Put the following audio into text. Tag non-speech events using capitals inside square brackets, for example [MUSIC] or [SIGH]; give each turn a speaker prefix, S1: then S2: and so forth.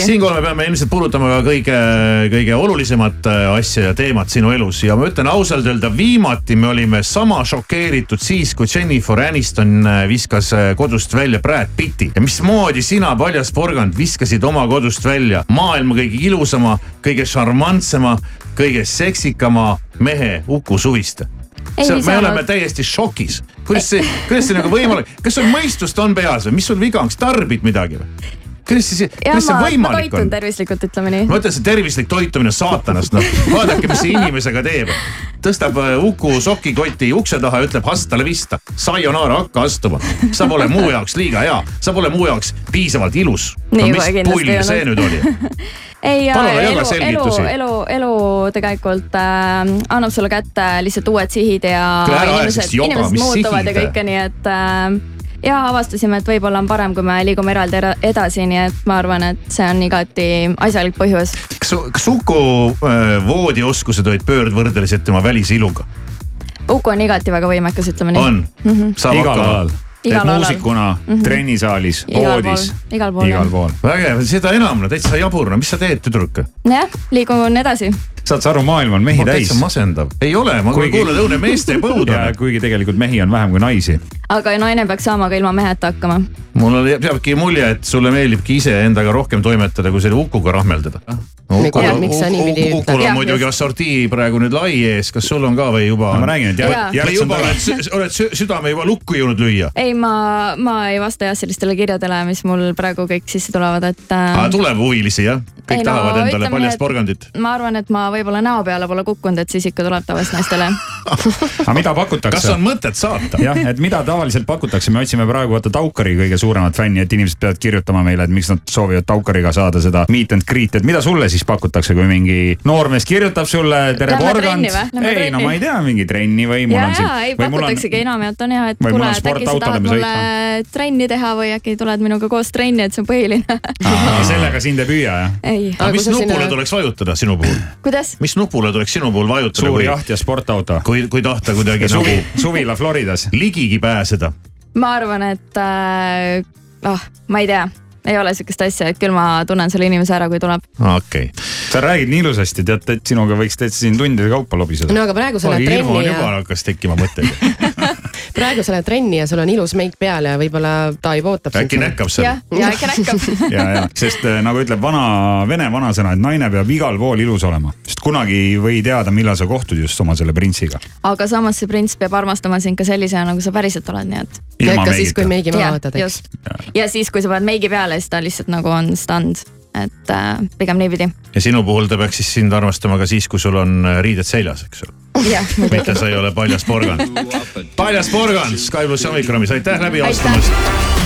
S1: siinkohal me peame ilmselt puudutama ka kõige, kõige olulisemat äh, asja ja teemat sinu elus ja ma ütlen ausalt öelda, viimati me olime sama šokeeritud siis, kui Jennifer Aniston äh, viskas äh, kodust välja Brad Pitti. ja mismoodi sina, paljas porgand, viskasid oma kodust välja maailma kõige ilusama, kõige šarmantsema, kõige seksikama mehe Uku Suviste
S2: Ei
S1: see, me
S2: saanud.
S1: oleme täiesti šokis, kuidas see , kuidas see nagu võimalik , kas sul mõistust on peas või mis sul viga on , kas tarbid midagi või ? kuidas see ,
S2: ja
S1: kuidas see
S2: ma, ma
S1: võimalik
S2: toitun
S1: on ?
S2: tervislikult , ütleme nii
S1: ma . ütlen , see tervislik toitumine saatanast , noh vaadake , mis see inimesega teeb . tõstab äh, Uku sokikoti ukse taha ja ütleb hasta la vista , sayonara , hakka astuma . sa pole mu jaoks liiga hea , sa pole mu jaoks piisavalt ilus . no
S2: Nii
S1: mis
S2: kohe kindlasti
S1: pull
S2: ei
S1: see
S2: olnud.
S1: nüüd oli ?
S2: ei ,
S1: Palun, jaga
S2: elu , elu
S1: selgitusi. ,
S2: elu , elu tegelikult äh, annab sulle kätte lihtsalt uued sihid ja
S1: Kuule, ära aja
S2: inimesed
S1: sellist , joga,
S2: inimesed
S1: mis
S2: muutuvad
S1: sihid?
S2: ja kõike , nii et äh, ja avastasime , et võib-olla on parem , kui me liigume eraldi era- edasi , nii et ma arvan , et see on igati asjalik põhjus .
S1: kas , kas Uku äh, voodioskused olid pöördvõrdeliselt tema välisiluga ?
S2: Uku on igati väga võimekas , ütleme nii . Mhm.
S1: on , saab
S3: igal
S1: hakkama
S3: alal .
S2: Igal
S3: teed
S2: alal. Mhm.
S3: muusikuna mm , -hmm. trennisaalis ,
S2: Igal pool,
S3: voodis ,
S2: igal pool,
S3: igal
S2: jah.
S3: pool. .
S1: vägev , seda enam , no täitsa jabur , no mis sa teed , tüdruk ?
S2: jah , liigun edasi .
S3: saad sa aru , maailm on mehi
S1: ma täitsa
S3: täis .
S1: masendav . ei ole , ma
S3: Kuigi-
S1: kuulan õune meeste põud on .
S3: kuigi tegelikult mehi on vähem kui naisi .
S2: aga naine peaks saama ka ilma meheta hakkama .
S1: mul oli- jääbki mulje , et sulle meeldibki iseendaga rohkem toimetada , kui selle Ukuga rahmeldada .
S2: Ah.
S4: tea, miks sa niipidi
S1: Ukul on
S2: Jah,
S1: muidugi
S2: just.
S1: assortii praegu nüüd lai ees , kas sul on ka või juba ?
S3: ma räägin , et
S2: Jaa.
S3: jah ,
S1: või
S3: järts on
S1: juba
S3: taga .
S1: oled , oled sü- südame juba lukku jõudnud lüüa ?
S2: ei , ma , ma ei vasta jah sellistele kirjadele , mis mul praegu kõik sisse tulevad , et äh,
S1: aga tuleb huvilisi jah ? kõik
S2: Ei, no
S1: tahavad endale
S2: ütleme,
S1: paljast
S2: et-
S1: porgandit .
S2: ma arvan , et ma võib-olla näo peale pole kukkunud , et siis ikka tuleb tavaliselt
S3: [LAUGHS]
S2: naistele .
S3: aga mida
S1: kas
S3: pakutakse
S1: on ? mõtet saata ?
S3: jah , et mida tavaliselt pakutakse , me otsime praegu vaata Taukari kõige suuremat fänni , et inimesed peavad kirjutama meile , et miks nad soovivad Taukariga saada seda meet and greet , et mida sulle siis pakutakse , kui mingi noormees kirjutab sulle , tere
S2: Lähme
S3: porgand
S2: trenni või? . Lähme
S3: ei , no
S2: trenni.
S3: ma ei tea , mingi trenni või mul
S2: ja , ja
S3: on
S2: ei
S3: siin , või mul on
S2: pakutaksegi enamjaolt on ja , et
S3: või mul
S2: kuule ,
S3: on
S2: et äkki sa
S3: sportautodega
S2: tahad
S3: me
S2: mulle trenni teha või äkki tuled minuga koos trenni , et see on põhiline . [LAUGHS]
S3: Aa, sellega sind ei püüa jah ?
S2: ei ,
S1: aga mis
S4: Alguses
S1: nupule
S4: sinna-
S1: tuleks vajutada sinu puhul ?
S2: kuidas ?
S1: mis nupule tuleks sinu puhul vajutada ,
S3: suur
S1: kui ,
S3: jaht ja sportauto .
S1: kui , kui tahta kuidagi nagu
S3: suvi , suvila Floridas .
S1: ligigi pääseda ?
S2: ma arvan , et äh, , oh , ma ei tea , ei ole sihukest asja , et küll ma tunnen selle inimese ära , kui tuleb .
S1: okei okay. .
S3: sa räägid nii ilusasti , tead , et sinuga võiks täitsa siin tundide kaupa lobiseda
S4: no aga praegu sa lähed
S1: hirmu on
S4: trenni
S1: juba
S4: ja ,
S1: hakkas tekkima
S4: [LAUGHS]
S1: mõtteid .
S4: praegu sa lähed trenni ja sul on ilus meik peal ja võib-olla ta juba ootab
S1: äkki . näkkab seal
S2: jah ,?
S3: [LAUGHS]
S2: ja äkki näkkab .
S3: ja , ja , sest äh, nagu ütleb vana vene vanasõna , et naine peab igal pool ilus olema , sest kunagi ei või teada , millal sa kohtud just oma selle printsiga .
S2: aga samas see prints peab armastama sind ka sellisena , nagu sa päriselt oled , nii et .
S3: ilma
S4: ka siis , kui
S3: meigita .
S4: meigi maha võtad , eks .
S2: just . ja siis , kui sa paned meigi peale , siis ta lihtsalt nagu on stand , et äh, pigem niipidi .
S1: ja sinu puhul ta peaks siis sind armastama ka siis , kui sul on äh, riided seljas , eks ole .
S2: jah ,
S1: mitte sa ei ole paljas porgand . paljas porgand Sky pluss ja Omikronis , aitäh läbi
S2: Aitäh.
S1: astumast .